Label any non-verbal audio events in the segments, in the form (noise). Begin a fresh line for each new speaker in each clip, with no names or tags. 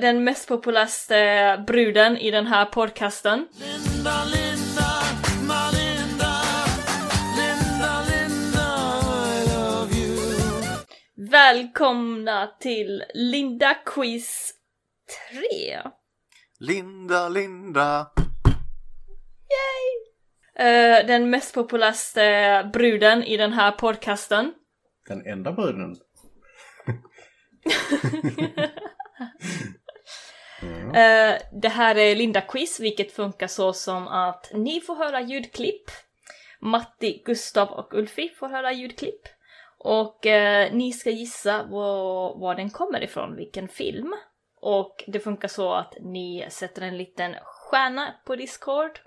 den mest populäraste bruden i den här podcasten.
Linda, Linda, my Linda, Linda, Linda, I love you.
Välkomna till Linda Quiz 3!
Linda, Linda.
Eh, den mest populäraste bruden i den här podcasten.
Den enda bruden.
Eh, det här är Linda Quiz, vilket funkar så som att ni får höra ljudklipp. Matti, Gustav och Ulfi får höra ljudklipp. Och eh, ni ska gissa var, var den kommer ifrån, vilken film. Och det funkar så att ni sätter en liten stjärna på Discord.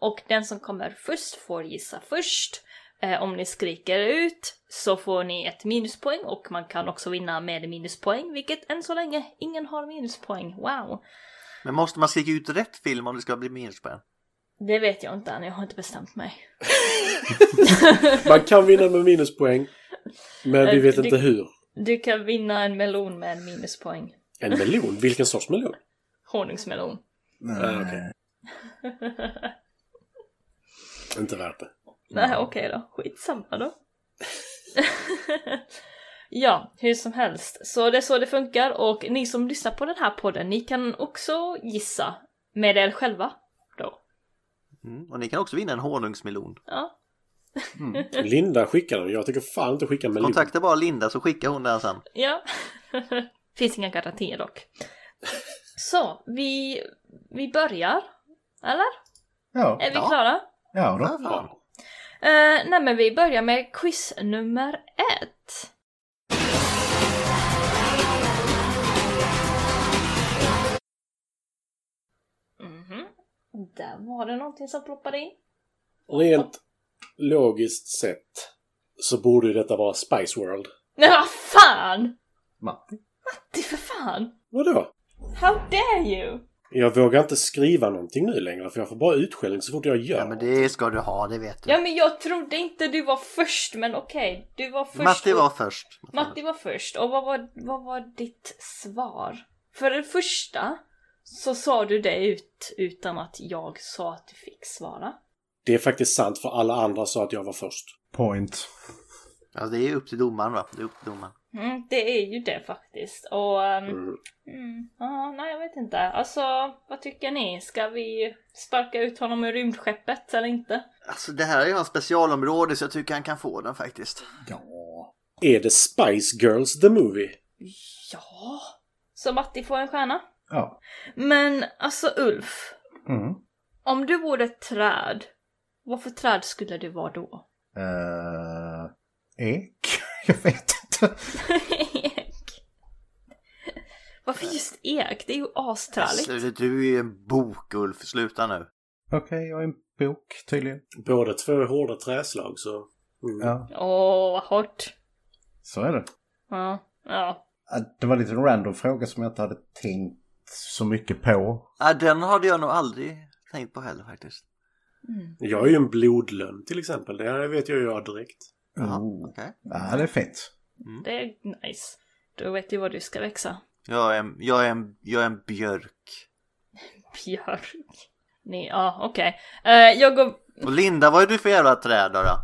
Och den som kommer först får gissa först. Eh, om ni skriker ut så får ni ett minuspoäng och man kan också vinna med minuspoäng, vilket än så länge ingen har minuspoäng. Wow!
Men måste man skrika ut rätt film om det ska bli minuspoäng?
Det vet jag inte än, jag har inte bestämt mig.
Man kan vinna med minuspoäng, men vi vet
Det-
inte hur.
Du kan vinna en melon med en minuspoäng.
En melon? Vilken sorts melon?
Honungsmelon.
Eh,
Ah, okej. Inte värt det.
Nej, okej då. Skitsamma då. (laughs) ja, hur som helst. Så det är så det funkar och ni som lyssnar på den här podden, ni kan också gissa med er själva då.
Mm. Och ni kan också vinna en honungsmelon.
Ja,
Linda skickar den. Jag tycker fan inte skicka melon.
Kontakta bara Linda så skickar hon den sen.
ja. (laughs) Finns inga garantier dock. Så, vi, vi börjar. Eller?
Ja,
Är vi
Ja.
klara?
ja
Ja,
då.
fan.
Eh, nej men vi börjar med quiz nummer ett. Mhm. Där var det någonting som ploppade in.
Rent logiskt sett så borde ju detta vara Spice World.
Nej vad fan!
Matti.
Det är för fan!
Vadå?
How dare you!
Jag vågar inte skriva någonting nu längre för jag får bara utskällning så fort jag gör.
Ja men det ska du ha, det vet du.
Ja men jag trodde inte du var först men okej, du var först.
Matti
och-
var först.
Matti var först och vad var, vad var ditt svar? För det första så sa du det ut utan att jag sa att du fick svara.
Det är faktiskt sant för alla andra sa att jag var först.
Point.
Ja, det är upp till domaren va? Det är upp till domaren.
Mm, det är ju det faktiskt. Och... ehm,
Mm.
mm, ja, nej, jag vet inte. Alltså, vad tycker ni? Ska vi sparka ut honom ur rymdskeppet eller inte?
Alltså det här är ju hans specialområde så jag tycker han kan få den faktiskt.
Ja.
Är det Spice Girls the Movie?
Ja! Så Matti får en stjärna.
Ja.
Men alltså Ulf,
Mm.
om du vore ett träd, vad för träd skulle du vara då?
Eh, ek? (laughs) Jag vet inte.
ek. Varför just ek? Det är ju asträligt.
Sluta, Alltså, Du är ju en bok Ulf, sluta nu.
Okej, jag är en bok tydligen.
Båda två är hårda träslag så... Mm.
Ja,
Åh, vad hårt.
så är det.
Ja, ja.
Eh, Det var lite en random fråga som jag inte hade tänkt så mycket på.
Ja, Äh, den hade jag nog aldrig tänkt på heller faktiskt.
Jag är ju en blodlön till exempel. Det här vet jag ju jag direkt.
Jaha,
Oh.
okej.
Ja, det är fint.
Det är nice. Då vet du vad du ska växa.
Jag är en, jag är en, jag är en björk.
Björk. Nej, ja okej. Eh, jag går...
Och Linda, vad är du för jävla träd då? då?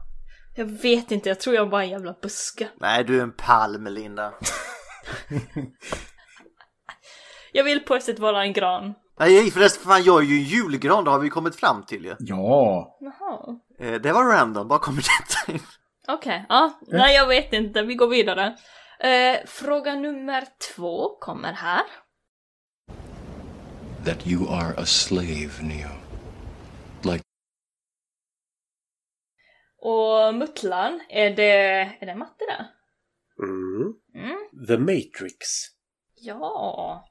Jag vet inte, jag tror jag bara är en jävla buske.
Nej, du är en palm Linda.
Jag vill på ett sätt vara en gran.
Nej förresten, fan jag är ju en julgran, det har vi kommit fram till ju.
Ja,
Jaha.
Eh, det var random, bara kommer (laughs) detta in?
Okej, ja. Nej, jag vet inte. Vi går vidare. Eh, fråga nummer två kommer här.
that you are a slave, Neo. Like
Och muttlan, är det... Är det matte där?
Mm.
Mm.
The Matrix.
Ja.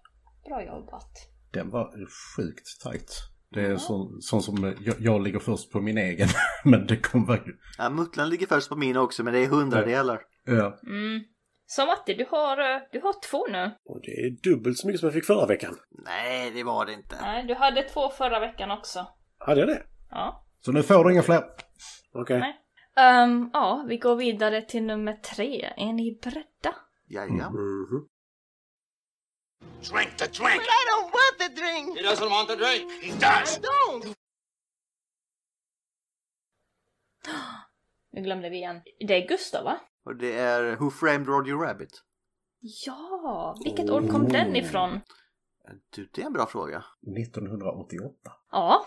Bra jobbat.
den var sjukt tajt. Det är så, sånt som eh, jag, jag ligger först på min egen, (laughs) men det kommer...
Ja, muttlan ligger först på min också, men det är hundradelar.
Ja,
Mm. Så Matti, du har, eh, du har två nu.
Och det är dubbelt så mycket som jag fick förra veckan.
Nej, det var det inte.
Nej, du hade två förra veckan också.
Hade jag det?
Ja.
så nu får du inga fler.
Okej.
Nej. Ehm, ja, vi går vidare till nummer tre. Är ni beredda?
Jajamän.
Mhm.
Drink the drink.
But I don't want the drink.
He doesn't want the drink. He does.
I don't.
Nu glömde vi igen. Det är Gustav va?
Och det är Who Framed Roger Rabbit?
Ja, vilket år kom den ifrån?
Eh, Du, det är en bra fråga.
1988.
Ja,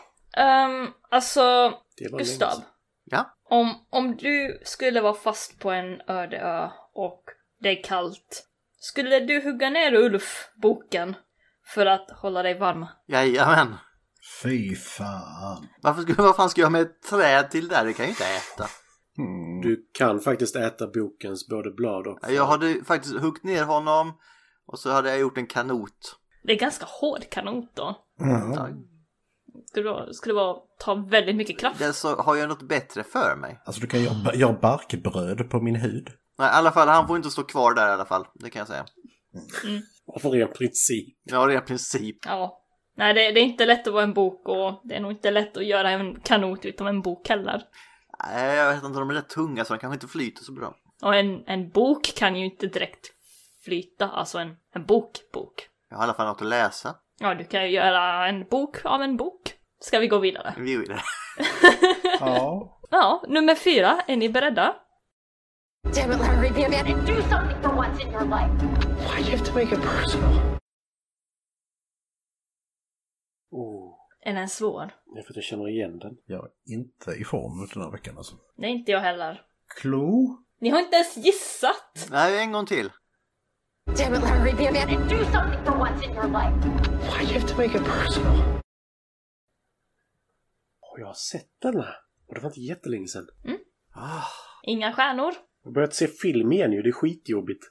um, alltså
Det var länge
Gustav.
sedan.
Ja,
Om, om du skulle vara fast på en öde ö och det är kallt, skulle du hugga ner Ulf-boken för att hålla dig varm?
jajamän.
Fy fan.
Varför skulle, vad fan ska (laughs) jag med ett träd till där? Det kan jag ju inte äta.
Mm.
Du kan faktiskt äta bokens både blad och...
Jag hade faktiskt huggit ner honom och så hade jag gjort en kanot.
Det är ganska hård kanot då.
Ja,
Skulle vara- skulle vara ta väldigt mycket
(laughs)
kraft.
Det så har jag något bättre för mig.
Alltså du kan göra, göra barkbröd på min hud.
Nej, i alla fall, han får inte stå kvar där i alla fall. Det kan jag säga.
För er princip.
Ja, det är princip.
Ja. Nej, det, det är inte lätt att vara en bok och det är nog inte lätt att göra en kanot utan en bok heller.
Nej, jag vet inte, de är rätt tunga så de kanske inte flyter så bra.
Och en, en bok kan ju inte direkt flyta, alltså en, en bok, bok.
Jag har i alla fall något att läsa.
Ja, du kan ju göra en bok av en bok. Ska vi gå vidare?
Vi gjorde det.
Ja.
Ja, nummer fyra, är ni beredda?
Damn it, Larry, be a man and do something for once in your life.
Oh,
Är den svår?
det är för att jag känner igen den.
Jag är inte i form den här veckan alltså.
Nej, inte jag heller.
Klo?
Ni har inte ens gissat!
Nej, en gång till.
Damn it, Larry, be a man and do something for once in your life.
Och jag har sett denna. Och det var inte jättelänge sedan.
Inga stjärnor.
Jag har börjat se film igen ju, det är skitjobbigt.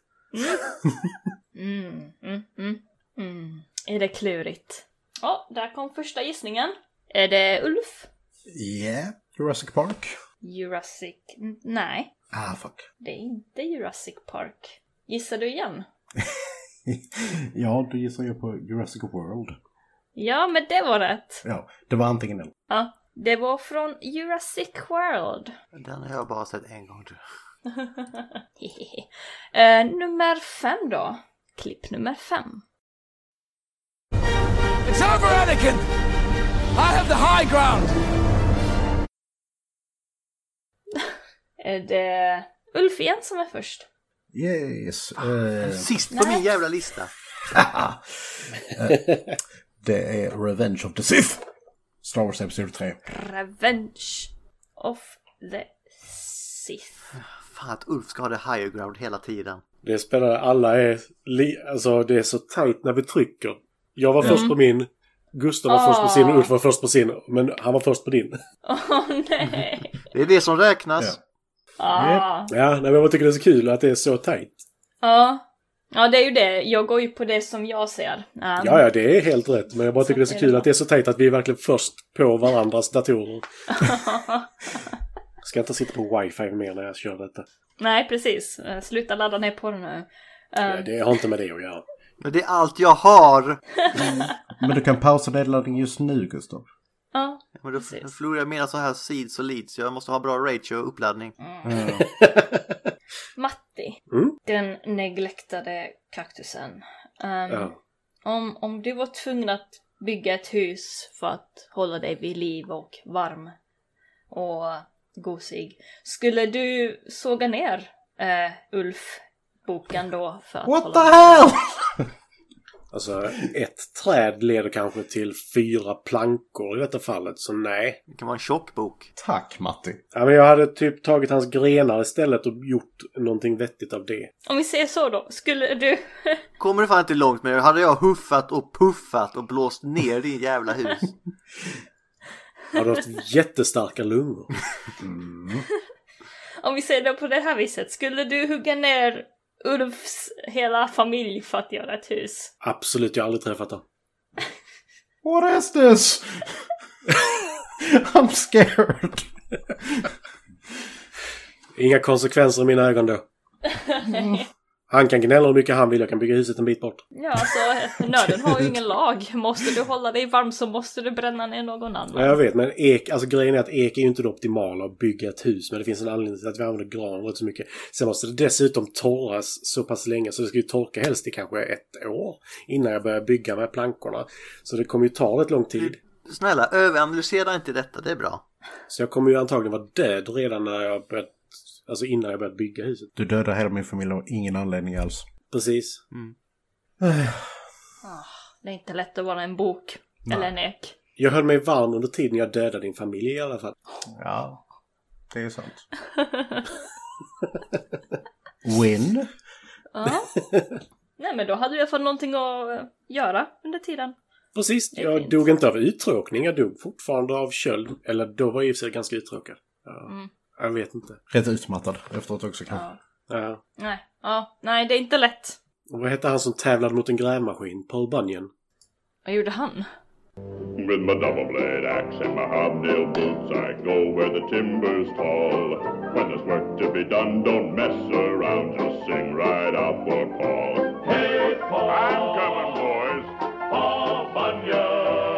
Mm, mm, mm, mm. Är det klurigt? Ja, där kom första gissningen. Är det Ulf?
Ja. Jurassic Park?
Jurassic... n- Nej,
Ah, fuck.
det är inte Jurassic Park. Gissar du igen?
ja, då gissar jag på Jurassic World.
Ja, men det var rätt!
Ja, det var antingen eller.
Ja, det var från Jurassic World. (laughs)
Den har jag bara sett en gång. tror jag.
Eh, nummer fem då. Klipp nummer fem.
It's over, Anakin! I have the high ground!
Är det Ulf igen som är först?
Yes. eh,
Sist på
Nej.
min jävla lista.
eh, det är Revenge of the Sith! Star Wars Episod 3.
Revenge of the Sith.
Fan att Ulf ska ha det higher ground hela tiden.
Det spelar alla är... Li, alltså det är så tajt när vi trycker. Jag var först på min. Gustav var först på sin
Ah.
och Ulf var först på sin. Men han var först på din.
(laughs) Åh nej!
Det är det som räknas.
Ja.
Ah.
Ja, nej, men jag tycker det är så kul att det är så tajt.
Ja. ja, det är ju det. Jag går ju på det som jag ser. Ja.
Ja, ja, det är helt rätt. Men jag bara tycker det är
är
så
det
kul
bara.
att det är så tajt att vi är verkligen först på
(laughs)
varandras datorer. Ska inte sitta på wifi mer när jag kör detta.
Nej, precis. Eh, Sluta ladda ner på det nu.
Ja, det har inte med det att göra.
Men det är allt jag har.
Men du kan pausa nedladdningen just nu, Gustav.
Ja.
Men då
Precis.
då förlorar jag mina så här seeds och leads. Jag måste ha bra ratio och uppladdning.
Eh,
Matti.
Mm.
Den neglektade kaktusen. Ehm,
Ja.
om, om du var tvungen att bygga ett hus för att hålla dig vid liv och varm och gosig. Skulle du såga ner eh, Ulf-boken då för att
(laughs) What the
hålla
hell!
Alltså, ett träd leder kanske till fyra plankor i detta fallet, så nej.
Det kan vara en tjock bok.
Tack, Matti.
Ja, men jag hade typ tagit hans grenar istället och gjort någonting vettigt av det.
Om vi säger så då, skulle du...
Kommer det fan inte långt med det. Hade jag huffat och puffat och blåst ner din jävla hus.
Jag hade haft jättestarka lungor.
Om vi säger det på det här viset, skulle du hugga ner Ulfs hela familj för att göra ett hus?
Absolut, jag har aldrig träffat honom.
What is (laughs) this? I'm scared.
Inga konsekvenser i mina ögon då. Han kan gnälla hur mycket han vill, jag kan bygga huset en bit bort.
Ja, alltså nöden har ju ingen lag. Måste du hålla dig varm så måste du bränna ner någon annan.
Ja, jag vet, men ek, alltså grejen är att ek är ju inte det optimala att bygga ett hus med. Det finns en anledning till att vi använder gran rätt så mycket. Sen måste det dessutom torras så pass länge, så det ska ju torka helst i kanske ett år innan jag börjar bygga med plankorna. Så det kommer ju ta rätt lång tid.
Snälla, överanalysera inte detta, det är bra.
Så jag kommer ju antagligen vara död redan när jag börjat, alltså innan jag börjat bygga huset.
Du dödar hela min familj av ingen anledning alls.
Precis.
Mm.
Det är inte lätt att vara en bok. Eller en ek.
Jag höll mig varm under tiden jag dödade din familj i alla fall.
Ja, det är sant. (laughs) Win.
Ja.
(laughs)
Nej men då hade du i alla fall någonting att eh, göra under tiden.
Precis,
Det är
jag
fint.
dog inte av uttråkning. Jag dog fortfarande av köld. Eller då var jag i och för sig ganska uttråkad. Ja.
Mm.
Jag vet inte.
Rätt utmattad efteråt också kanske.
Ja.
Nej, ja, nej det är inte lätt.
Och vad hette han som tävlade mot en grävmaskin? Paul Bunyan?
Vad gjorde han?
With my double blade axe and my hobnail boots, I go where the timber's tall. When there's work to be done, don't mess around, just sing right out for Paul. Hey, Paul! I'm coming, boys! Paul Bunyan!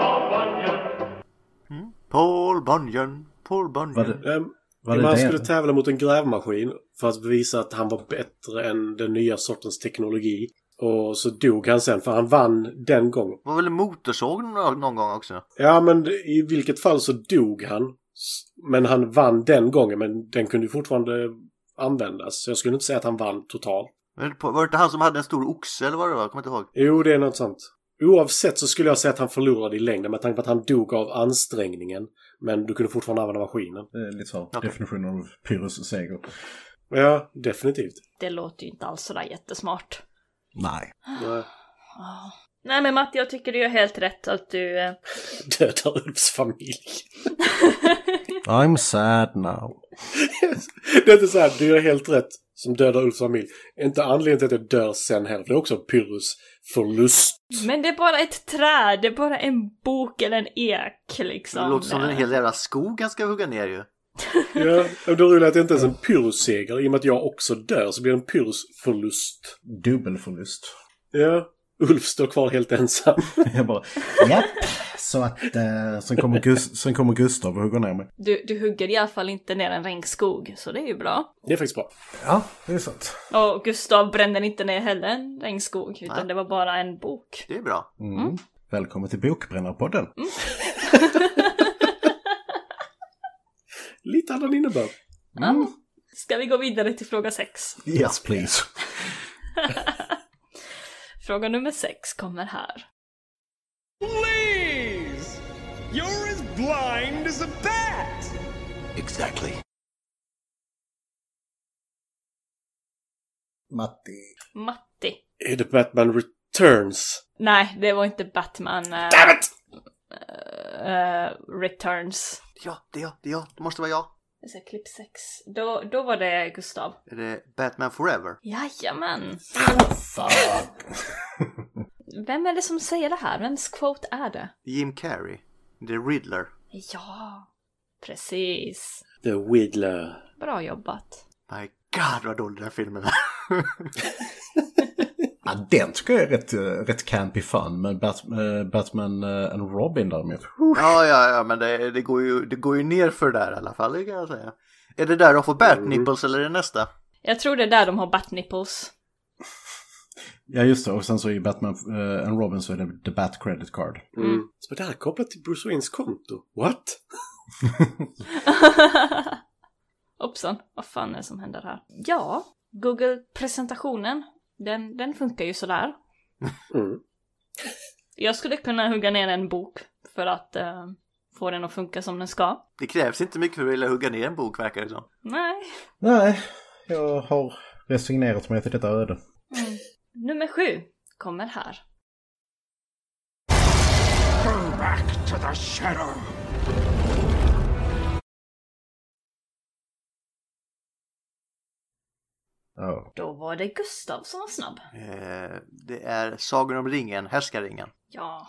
Paul Bunyan!
Paul Bunyan, Paul
Var
Bunyan.
det,
Ehm,
var det
man
det?
skulle tävla mot en grävmaskin för att bevisa att han var bättre än den nya sortens teknologi. Och så dog han sen, för han vann den gången.
Var väl en motorsåg nå- någon gång också?
Ja, men i vilket fall så dog han. S- Men han vann den gången, men den kunde ju fortfarande användas. Så jag skulle inte säga att han vann totalt.
Var det- var det inte han som hade en stor oxe eller vad det var? Jag kommer inte ihåg.
Jo, det är något sånt. Oavsett så skulle jag säga att han förlorade i längden med tanke på att han dog av ansträngningen. Men du kunde fortfarande använda maskinen.
Det är Lite så.
Okej.
Definitionen av Pyrrhus seger.
Ja, definitivt.
Det låter ju inte alls sådär jättesmart.
Nej.
Nej.
Nej men Matti, jag tycker du gör helt rätt att du... eh,
Dödar Ulfs familj. (laughs)
I'm sad now.
Det är inte så här, du gör helt rätt som dödar Ulfs familj. Inte anledningen till att jag dör sen heller, för det är också Pyrrhus förlust.
Men det är bara ett träd, det är bara en bok eller en ek liksom.
Det låter som en hel jävla skog han ska hugga ner ju.
Ja, och då rullar att det inte ens är en Pyrrhus-seger. I och med att jag också dör så blir det en Pyrrhus förlust.
Dubbelförlust.
Ja, Ulf står kvar helt ensam.
(laughs) Jag bara, japp. Så att, eh, sen, kommer Gus- sen kommer Gustav och hugger ner mig.
Du, du hugger i alla fall inte ner en regnskog, så det är ju bra.
Det är faktiskt bra.
Ja, det är sant.
Och Gustav brände inte ner heller en regnskog, utan
Nej.
det var bara en bok.
Det är bra.
Mm. Välkommen till Bokbrännarpodden.
Lite annan innebörd. Mm.
Ja. Ska vi gå vidare till fråga sex?
Yes please.
Fråga nummer sex kommer här.
Please! You're as blind as a bat!
Exactly.
Matti.
Matti.
Är det Batman Returns?
Nej, det var inte Batman eh,
Damn it!
eh, Returns.
Ja, det är jag, det är jag, det måste vara jag.
Jag ser klipp sex. Då, då var det Gustav.
Är det Batman Forever?
Jajamän!
Fuck.
Vem är det som säger det här? Vems quote är det?
Jim Carrey? Det är Riddler?
Ja, precis.
The Whittler.
Bra jobbat.
My God vad dålig den här filmen är.
Ja, den tycker jag är rätt, eh, rätt campy fun. Men Bat- eh, Batman eh, and Robin däremot.
ja, ja, ja, men det, det, går ju, det går ju ner för där i alla fall, det kan jag säga. Är det där de får bat nipples eller är det nästa?
Jag tror det är där de har bat nipples.
Ja just det, och sen så i Batman eh, and Robin så är det The Bat Credit Card.
Mm. Så det här är kopplat till Bruce Waynes konto? What?
(laughs) Hoppsan, vad fan är det som händer här? Ja, Google-presentationen, den, den funkar ju sådär.
Mm.
Jag skulle kunna hugga ner en bok för att eh, få den att funka som den ska.
Det krävs inte mycket för att vilja hugga ner en bok verkar det som.
Nej.
Nej, jag har resignerat mig till detta öde.
Nummer sju kommer här.
Go back to the shadow.
Ja.
Då var det Gustav som var snabb.
Eh, det är Sagan om ringen, Härskarringen.
Ja,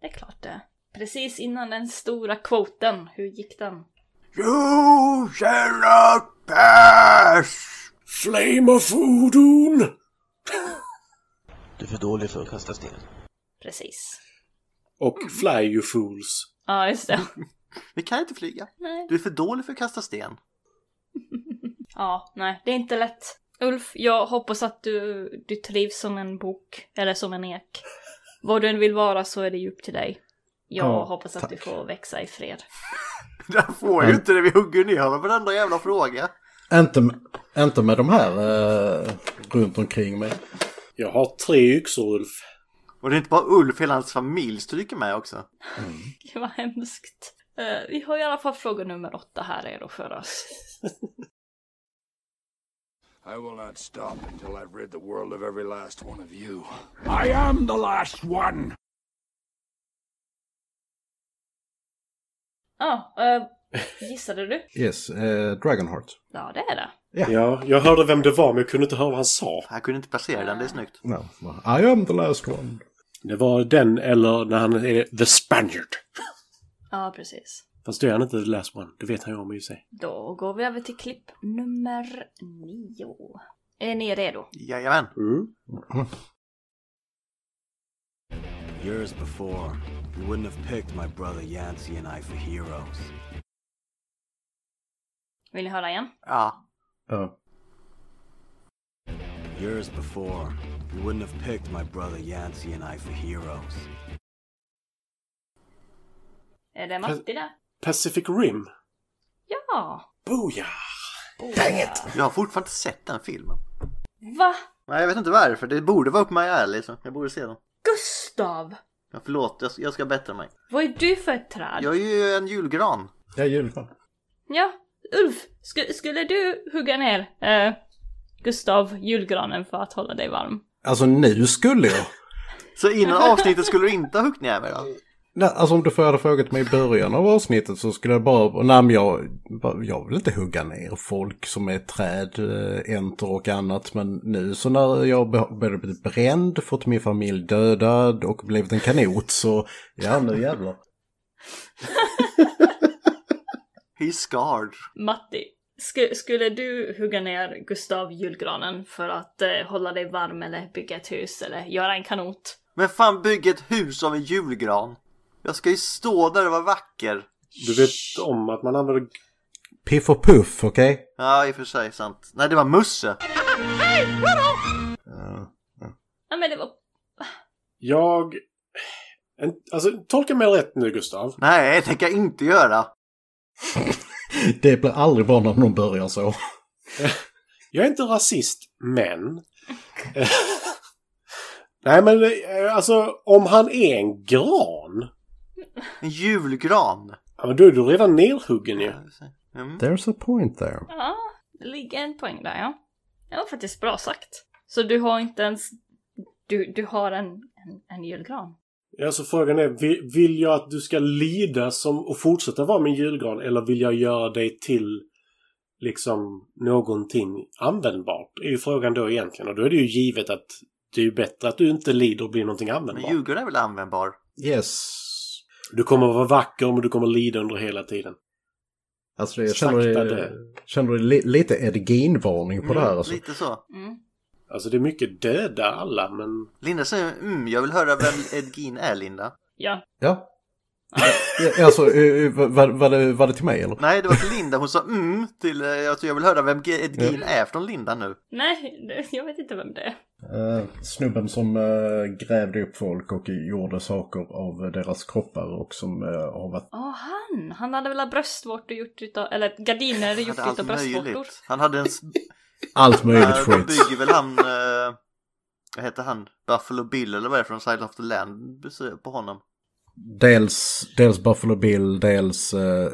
det är klart det. Precis innan den stora kvoten. Hur gick den?
You shall not pass!
Flame of Odin!
Du är för dålig för att kasta sten.
Precis.
Och fly you fools.
Ja, just (laughs) det.
Vi kan inte flyga.
Nej.
Du är för dålig för att kasta sten.
Ja, nej, det är inte lätt. Ulf, jag hoppas att du, du trivs som en bok, eller som en ek. Vad du än vill vara så är det ju upp till dig. Jag
Ja,
hoppas att du
tack.
får växa i fred.
(laughs)
(laughs)
Där får ju
Mm.
inte det, vi hugger ner honom varenda jävla fråga.
Inte, m- inte med de här eh, runt omkring mig.
Jag har tre yxor Ulf.
Och det är inte bara Ulf, hela hans familj stryker med också.
Gud vad hemskt. Eh, vi har i alla fall fråga nummer åtta här redo för
(laughs)
oss.
I will not stop until I've rid the world of every last one of you. I am the last one!
Ja, eh, gissade du?
Yes, eh, Dragonheart.
Ja, det är det.
Ja, jag hörde vem det var men jag kunde inte höra vad han sa.
Han kunde inte placera den, det är snyggt.
No. I am the last one.
Det var den eller när han är the Spaniard.
Ja, precis.
Fast då är han inte the last one. Det vet han ju om i sig.
Då går vi över till klipp nummer nio. Är ni redo?
Jajamän.
Mm.
Years before, you wouldn't have picked my brother Yancey and I for heroes.
Vill ni höra igen?
Ja.
Ja.
Years before, you wouldn't have picked my brother Yancey and I for heroes.
Är det Matti där?
Pacific Rim.
Ja!
Boja!
Jag har fortfarande inte sett den filmen.
Va?
Nej, jag vet inte varför. Det borde vara upp my alley, så jag borde se den.
Gustav!
Ja, förlåt, jag, jag ska bättra mig.
Vad är du för ett träd?
Jag är ju en julgran.
Jag är julfan.
Ja, Ulf, sku- skulle du hugga ner eh, Gustav julgranen för att hålla dig varm?
Alltså nu skulle jag.
Så innan avsnittet skulle du inte ha huggit ner mig då?
Nej, alltså om du hade frågat mig i början av avsnittet så skulle jag bara, nej men jag, jag vill inte hugga ner folk som är träd, eh, enter och annat. Men nu så när jag be- började bli bränd, fått min familj dödad och blivit en kanot så, ja nu jävlar.
He's scarred.
Matti, sku- skulle du hugga ner Gustav julgranen för att eh, hålla dig varm eller bygga ett hus eller göra en kanot?
Men fan bygga ett hus av en julgran. Jag ska ju stå där och vara vacker.
Du vet om att man använder...
Piff och puff, okej?
Ja, i och för sig sant. Nej, det var Musse.
Ja, men det var...
Jag... En, alltså, tolka mig rätt nu Gustav.
Nej, det tänker jag inte göra.
Det blir aldrig bra när någon börjar så.
Jag är inte rasist, men... (laughs) Nej, men eh, alltså om han är en gran,
En julgran.
ja, men då är du redan nerhuggen ju.
Ja, i och för sig. Mm.
There's a point there.
Ja, det ligger en poäng där ja. Det var faktiskt bra sagt. Så du har inte ens... Du, du har en, en, en julgran?
Ja, så frågan är, vi- vill jag att du ska lida som och fortsätta vara min julgran eller vill jag göra dig till liksom någonting användbart? är ju frågan då egentligen. Och då är det ju givet att det är ju bättre att du inte lider och blir någonting
Men
användbart.
julgran är väl användbar?
Yes.
Du kommer att vara vacker men du kommer lida under hela tiden.
Alltså jag känner,
Sakta
det,
dö.
känner det li, lite Ed Gein-varning på det här alltså.
Lite så.
Mm.
Alltså det är mycket döda alla men...
Linda säger mm, jag vill höra vem Ed Gein är, Linda.
Ja.
Ja. Ja, alltså, eh, eh, var, var, det, var det till mig eller?
Nej, det var till Linda. Hon sa mm till... eh, Jag, tror jag vill höra vem Ge- Ed Gein är från Linda nu.
Nej, (laughs) det- jag vet inte vem det är.
Eh, snubben som eh, grävde upp folk och gjorde saker av deras kroppar och som eh, har varit...
Åh, han! Han hade väl ha bröstvårtor gjort utav... Eller gardiner gjort
hade allt
utav bröstvårtor.
möjligt. Han hade en...
(laughs)
s-
Allt möjligt
Äh, då
skit.
bygger väl han... eh, Vad heter han? Buffalo Bill eller vad är det från Side of the Land på honom?
Dels, dels Buffalo Bill, dels eh,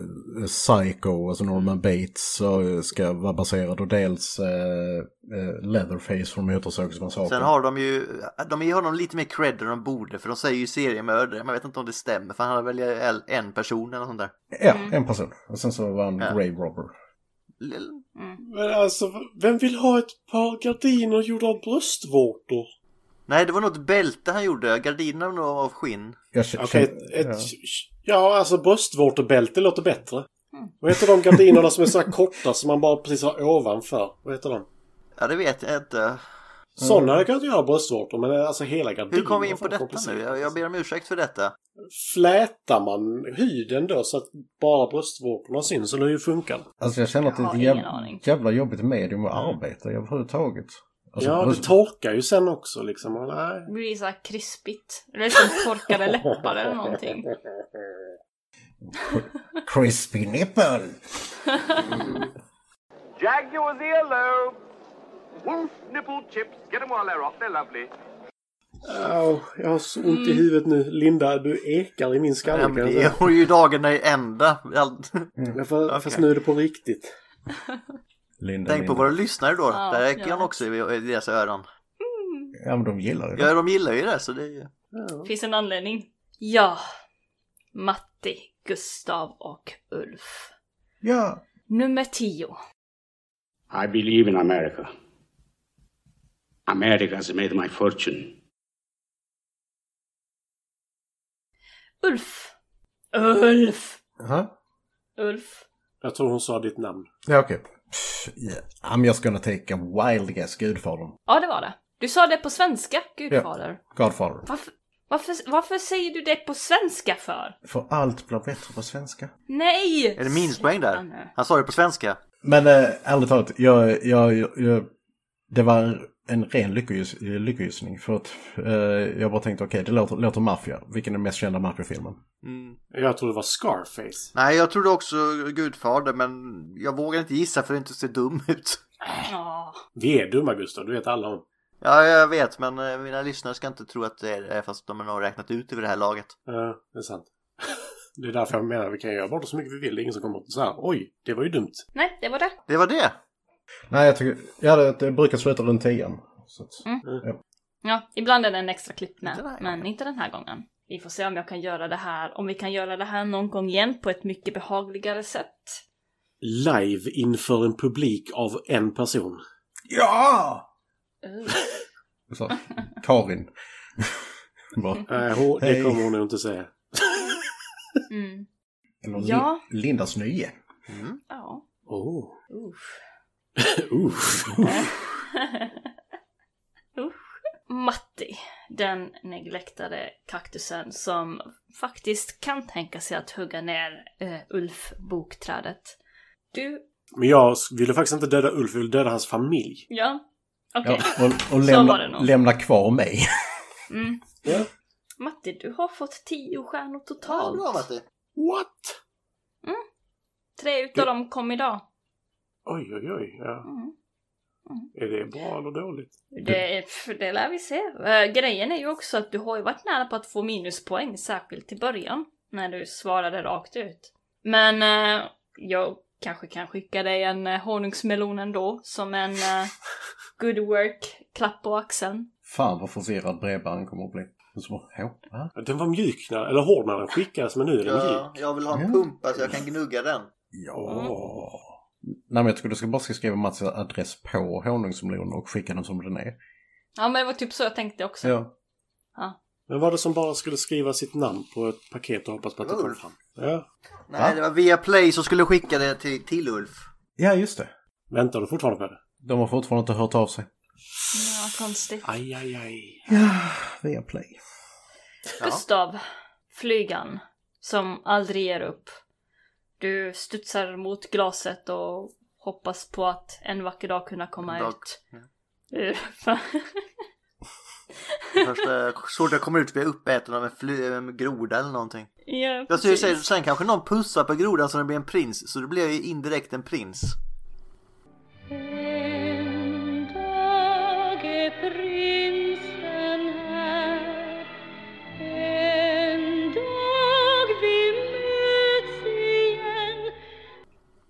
Psycho, alltså Norman Bates, så ska vara baserad och dels eh, eh, Leatherface från Motorsågsmassakern.
Sen har de ju... De ger honom lite mer cred än de borde för de säger ju seriemördare. Men jag vet inte om det stämmer för han väljer väl en person eller något sånt där.
Ja, en person. Och sen så var han
Ja.
Grave Robber.
L-
Men alltså, vem vill ha ett par gardiner gjorda av bröstvårtor?
Nej, det var något bälte han gjorde. Gardinerna var nog av skinn.
Jag k-
Okej,
känner-
ett, ett,
ja.
ja alltså bröstvårtebälte låter bättre.
Mm.
Vad heter de
Mm.
gardinerna som är så här korta som man bara precis har ovanför? Vad heter de?
Ja, det vet jag inte.
Sådana hade kunnat göra bröstvårtor, men alltså hela gardiner.
Hur kom vi in på
fan,
detta nu?
komplicerat.
Jag, jag ber om ursäkt för detta.
Flätar man huden då så att bara bröstvårtorna syns, eller hur funkar det?
Alltså jag känner att det är
Jag
ett
har
jäv,
ingen aning.
jävla jobbigt medium att arbeta i överhuvudtaget. Alltså,
ja, det
bröst-
torkar ju sen också liksom. och Nej.
Det blir såhär krispigt. Eller som torkade läppar eller någonting.
Crispy nipple!
Jaguar's earlobe. Wolf nipple chips. Get them while they're hot. They're lovely.
Au, jag har så ont i huvudet nu. Linda, du ekar i min skalle.
Mm. Ja,
kan
men
jag
det
säga.
är ju dagarna i ända. All-
Ja, fa-
Okej.
Fast nu är det på riktigt.
Linda,
Tänk på
Linda.
våra lyssnare då.
Ja,
Där äcker
ja.
han också i i deras öron.
Ja, men de gillar ju det.
Ja, de gillar ju det så det är ju...
Finns en anledning. Ja. Matti, Gustav och Ulf.
Ja.
Nummer 10.
I believe in America. America has made my fortune.
Ulf. Ulf!
Aha.
Ulf.
Jag tror hon sa ditt namn.
Ja, okej. Pff, yeah. I'm just gonna take a wild guess, Gudfadern.
Ja, det var det. Du sa det på svenska, gudfader.
Godfather.
Varför, varför, varför säger du det på svenska för?
För allt blir bättre på svenska.
Nej!
Är det minuspoäng
Sluta
där?
nu.
Han sa det på svenska.
Men eh, ärligt talat, jag, jag, jag, det var en ren lyckogiss, lyckogyssning. För att eh, jag bara tänkte, okej, det låter, låter maffia. Vilken är den mest kända maffiafilmen?
Mm.
Jag tror det var Scarface.
Nej, jag trodde också Gudfader, men jag vågar inte gissa för det inte ser dum (laughs) ut.
Ja.
Vi är dumma Gustav, du vet alla om.
Ja, jag vet, men eh, mina lyssnare ska inte tro att det är det, fast de har nog räknat ut det vid det här laget.
Ja, det är sant. (laughs) Det är därför jag menar vi kan göra bort så mycket vi vill. Det är ingen som kommer att säga oj, det var ju dumt.
Nej, det var det.
Det var det!
Nej, jag tycker, ja, det, det brukar sluta runt tian. Så att,
Ja, ibland är det en extra klipp med,
Inte den här
men
gången.
inte den här gången. Vi får se om jag kan göra det här, om vi kan göra det här någon gång igen på ett mycket behagligare sätt.
Live inför en publik av en person.
Ja!
Uh.
Så, Karin. (laughs) Bara,
Nej, hon- Äh, det
Hej.
kommer hon nog inte säga.
Mm.
eller
Ja.
Lin, Lindas nye.
Ja.
Oh.
(laughs) Uff.
(laughs) Uff.
Usch. Matti, den neglektade kaktusen som faktiskt kan tänka sig att hugga ner eh, Ulf-bokträdet. Du,
Men jag ville faktiskt inte döda Ulf, jag ville döda hans familj.
ja, okej.
Ja, och och
Så var det
lämna,
nog.
lämna kvar mig.
Mm.
Ja.
Matti, du har fått 10 stjärnor
Ja,
totalt.
bra Matti!
What?
Tre utav dem kom idag.
Oj, oj, oj. Ja.
Mm.
Är det bra eller dåligt?
Det, pff, det lär vi se. Eh, grejen är ju också att du har ju varit nära på att få minuspoäng, särskilt i början. När du svarade rakt ut. Men eh, jag kanske kan skicka dig en uh, honungsmelon ändå, som en eh, good work, klapp på axeln.
Fan vad forcerad brevbäraren kommer att bli. Och så bara, "Hå, va?
Den var mjuk när, eller hård när den skickades, men nu är Mm. den mjuk.
Ja, jag vill ha en pumpa så jag kan gnugga den.
Ja. Mm. Nej men jag tror du ska bara ska skriva Mats adress på honungsmelonen och skicka den som den är.
Ja men det var typ så jag tänkte också.
Ja.
Men var det som bara skulle skriva sitt namn på ett paket och hoppas på att det kom fram? Ja.
Nej, det var via Play som skulle skicka det till, till Ulf.
Ja just det.
Väntar du fortfarande på det?
De har fortfarande inte hört av sig.
Ja, konstigt.
Aj, aj, aj.
Via play.
Gustav, flygan, som aldrig ger upp. Du studsar mot glaset och hoppas på att en vacker dag kunna komma
En dag.
ut.
Ja.
Ur.
Det Första så det kommer ut vi är uppäten av en, fly, en groda eller någonting.
(laughs) ja,
Jag ser,
precis.
sen, sen kanske någon pussar på grodan så den blir en prins, så det blir jag ju indirekt en prins.
En dag är prinsen här En dag vi möts igen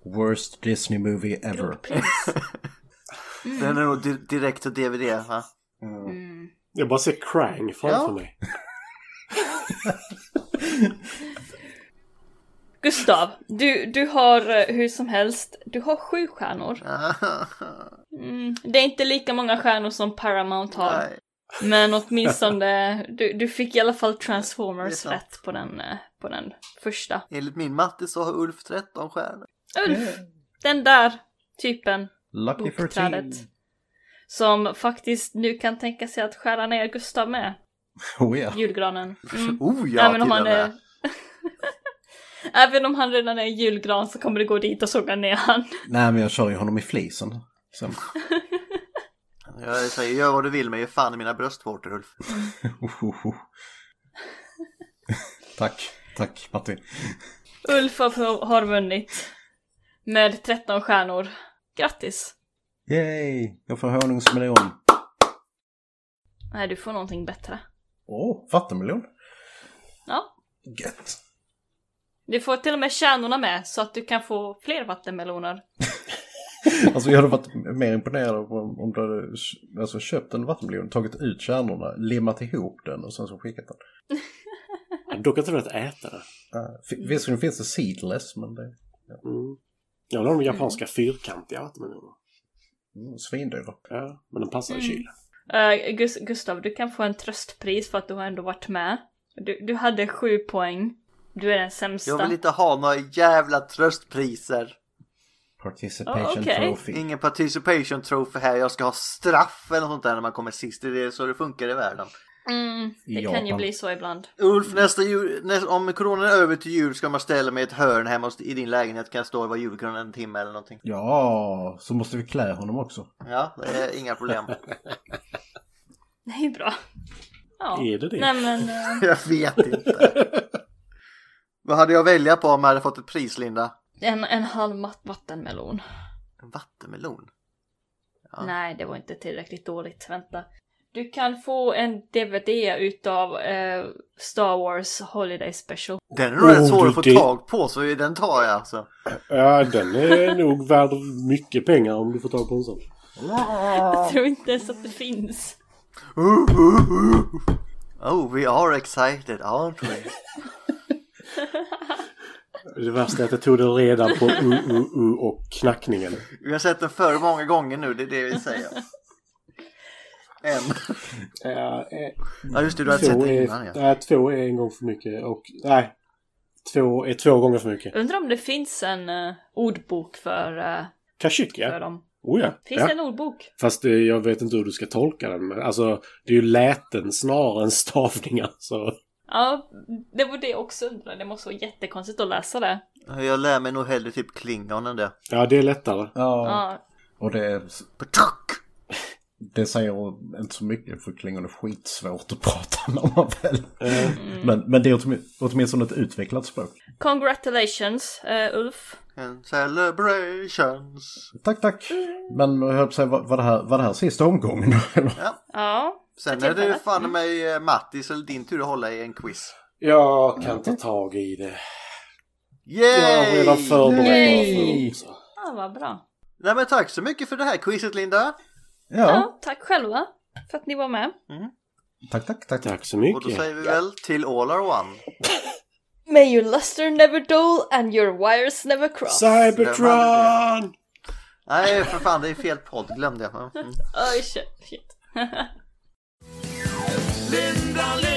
Worst Disney movie ever.
Mm.
Den är nog di- direkt till DVD. Va? (laughs)
Jag bara ser Krang framför
Ja.
mig.
Gustav, du, du har eh, hur som helst, du har sju stjärnor. Mm, det är inte lika många stjärnor som Paramount har.
Nej,
Men åtminstone,
(laughs)
du, du fick i alla fall Transformers
Det är sant.
rätt på den, eh, på den första.
enligt min matte så har Ulf 13 stjärnor.
Ulf! Den där typen
Lucky for
bokträdet.
tea.
Som faktiskt nu kan tänka sig att skära ner Gustav med.
Oh ja.
Julgranen. Mm.
Oh (laughs) ja,
Även om
till
han
och med.
är... (laughs) Även om han redan är en julgran så kommer det gå dit och såga ner han. (laughs)
Nej, men jag kör ju honom i flisen. Så.
Jag säger gör vad du vill men gör fan i mina bröstvårtor Ulf.
(laughs) tack, tack Martin.
Ulf har har vunnit. Med 13 stjärnor. Grattis!
Yay, jag får honungsmelon.
Nej, du får någonting bättre.
Åh, oh, vattenmelon.
Ja.
Gött.
Du får till och med kärnorna med så att du kan få fler vattenmeloner.
Alltså jag hade varit mer imponerad av om om du hade alltså, köpt en vattenmelon, tagit ut kärnorna, limmat ihop den och sen så skickat den.
Jag dock inte velat äta det.
Uh, f- visserligen finns det seedless, men det
Mm. Jag vill ha de japanska fyrkantiga vattenmelonerna.
mm, svindyra.
Ja, men de passar i
Mm.
kylen.
Eh, Gus- Gustav, du kan få en tröstpris för att du har ändå varit med. Du, du hade sju poäng. Du är den sämsta.
Jag vill inte ha några jävla tröstpriser.
Participation
Ja, okej.
trophy.
Ingen participation trophy här. Jag ska ha straff eller något sånt där när man kommer sist. Det är det- så det funkar i världen.
Mm, det kan ju
Japan.
bli så ibland. (laughs)
Ulf, nästa jul, nästa, om coronan är över till jul ska man ställa mig i ett hörn hemma hos- i din lägenhet. Kan jag stå och vara julgran en timme eller någonting.
Ja, så måste vi klä honom också.
Ja, det är inga problem.
Det är ju bra. Ja.
Är det det?
Nej men, eh,
(laughs) Jag vet inte. Vad hade jag att välja på om jag hade fått ett pris, Linda?
en, en halv matt vattenmelon.
En vattenmelon? Ja.
Nej, det var inte tillräckligt dåligt. Vänta. Du kan få en DVD utav eh, Star Wars Holiday Special.
Den är nog rätt
Oh,
svår
du,
att få
det-
tag på, så den tar jag alltså. (laughs)
Ja, den är nog värd mycket pengar om du får tag på en sån.
Jag tror inte ens att det finns.
Oh, we are excited, aren't we?
Det värsta är att jag tog den redan på u-u-u och knackningen.
Vi har sett den för många gånger nu, det är det vi (laughs) säger. En.
Ja, eh,
Ja, just det, du har sett
två,
den
är,
innan ja.
nej, två är en gång för mycket och... Nej. Två är två gånger för mycket.
Undrar om det finns en eh, ordbok för, eh, för
Kashyyyka?
dem.
Oh ja.
Finns
ja.
det en ordbok?
Fast eh, jag vet inte hur du ska tolka den. Men, alltså, det är ju läten snarare än stavningar. Så.
Ja, det var det jag också undrade. Det måste vara jättekonstigt att läsa det.
Jag lär mig nog hellre typ klingon än det.
Ja, det är lättare.
Ja,
Ja.
och det,
Patuk!
det säger inte så mycket för klingon är skitsvårt att prata (laughs) med om man väl. Men, men det är åtmin- åtminstone ett utvecklat språk.
Congratulations, eh, Ulf.
And celebrations.
Tack, tack. Men jag höll på att säga, var, var, det här, var det här sista omgången? (laughs) Eller?
Ja.
Sen
För
är det
tillfället.
fan mig eh, Mattis eller din tur att hålla i en quiz.
Jag kan ta tag i det. Jag har
Yay!
redan förberett
Yay!
mig för också.
ja, vad bra.
Nej men tack så mycket för det här quizet Linda.
Ja.
Ja,
tack själva för att ni var med.
tack, tack, tack.
Tack så
Och då
mycket.
säger vi väl till all are one.
May your luster never dull and your wires never cross.
Cybertron!
Nej för fan det är fel podd, glömde jag. Mm.
Oj, shit. shit.
Linda, Linda.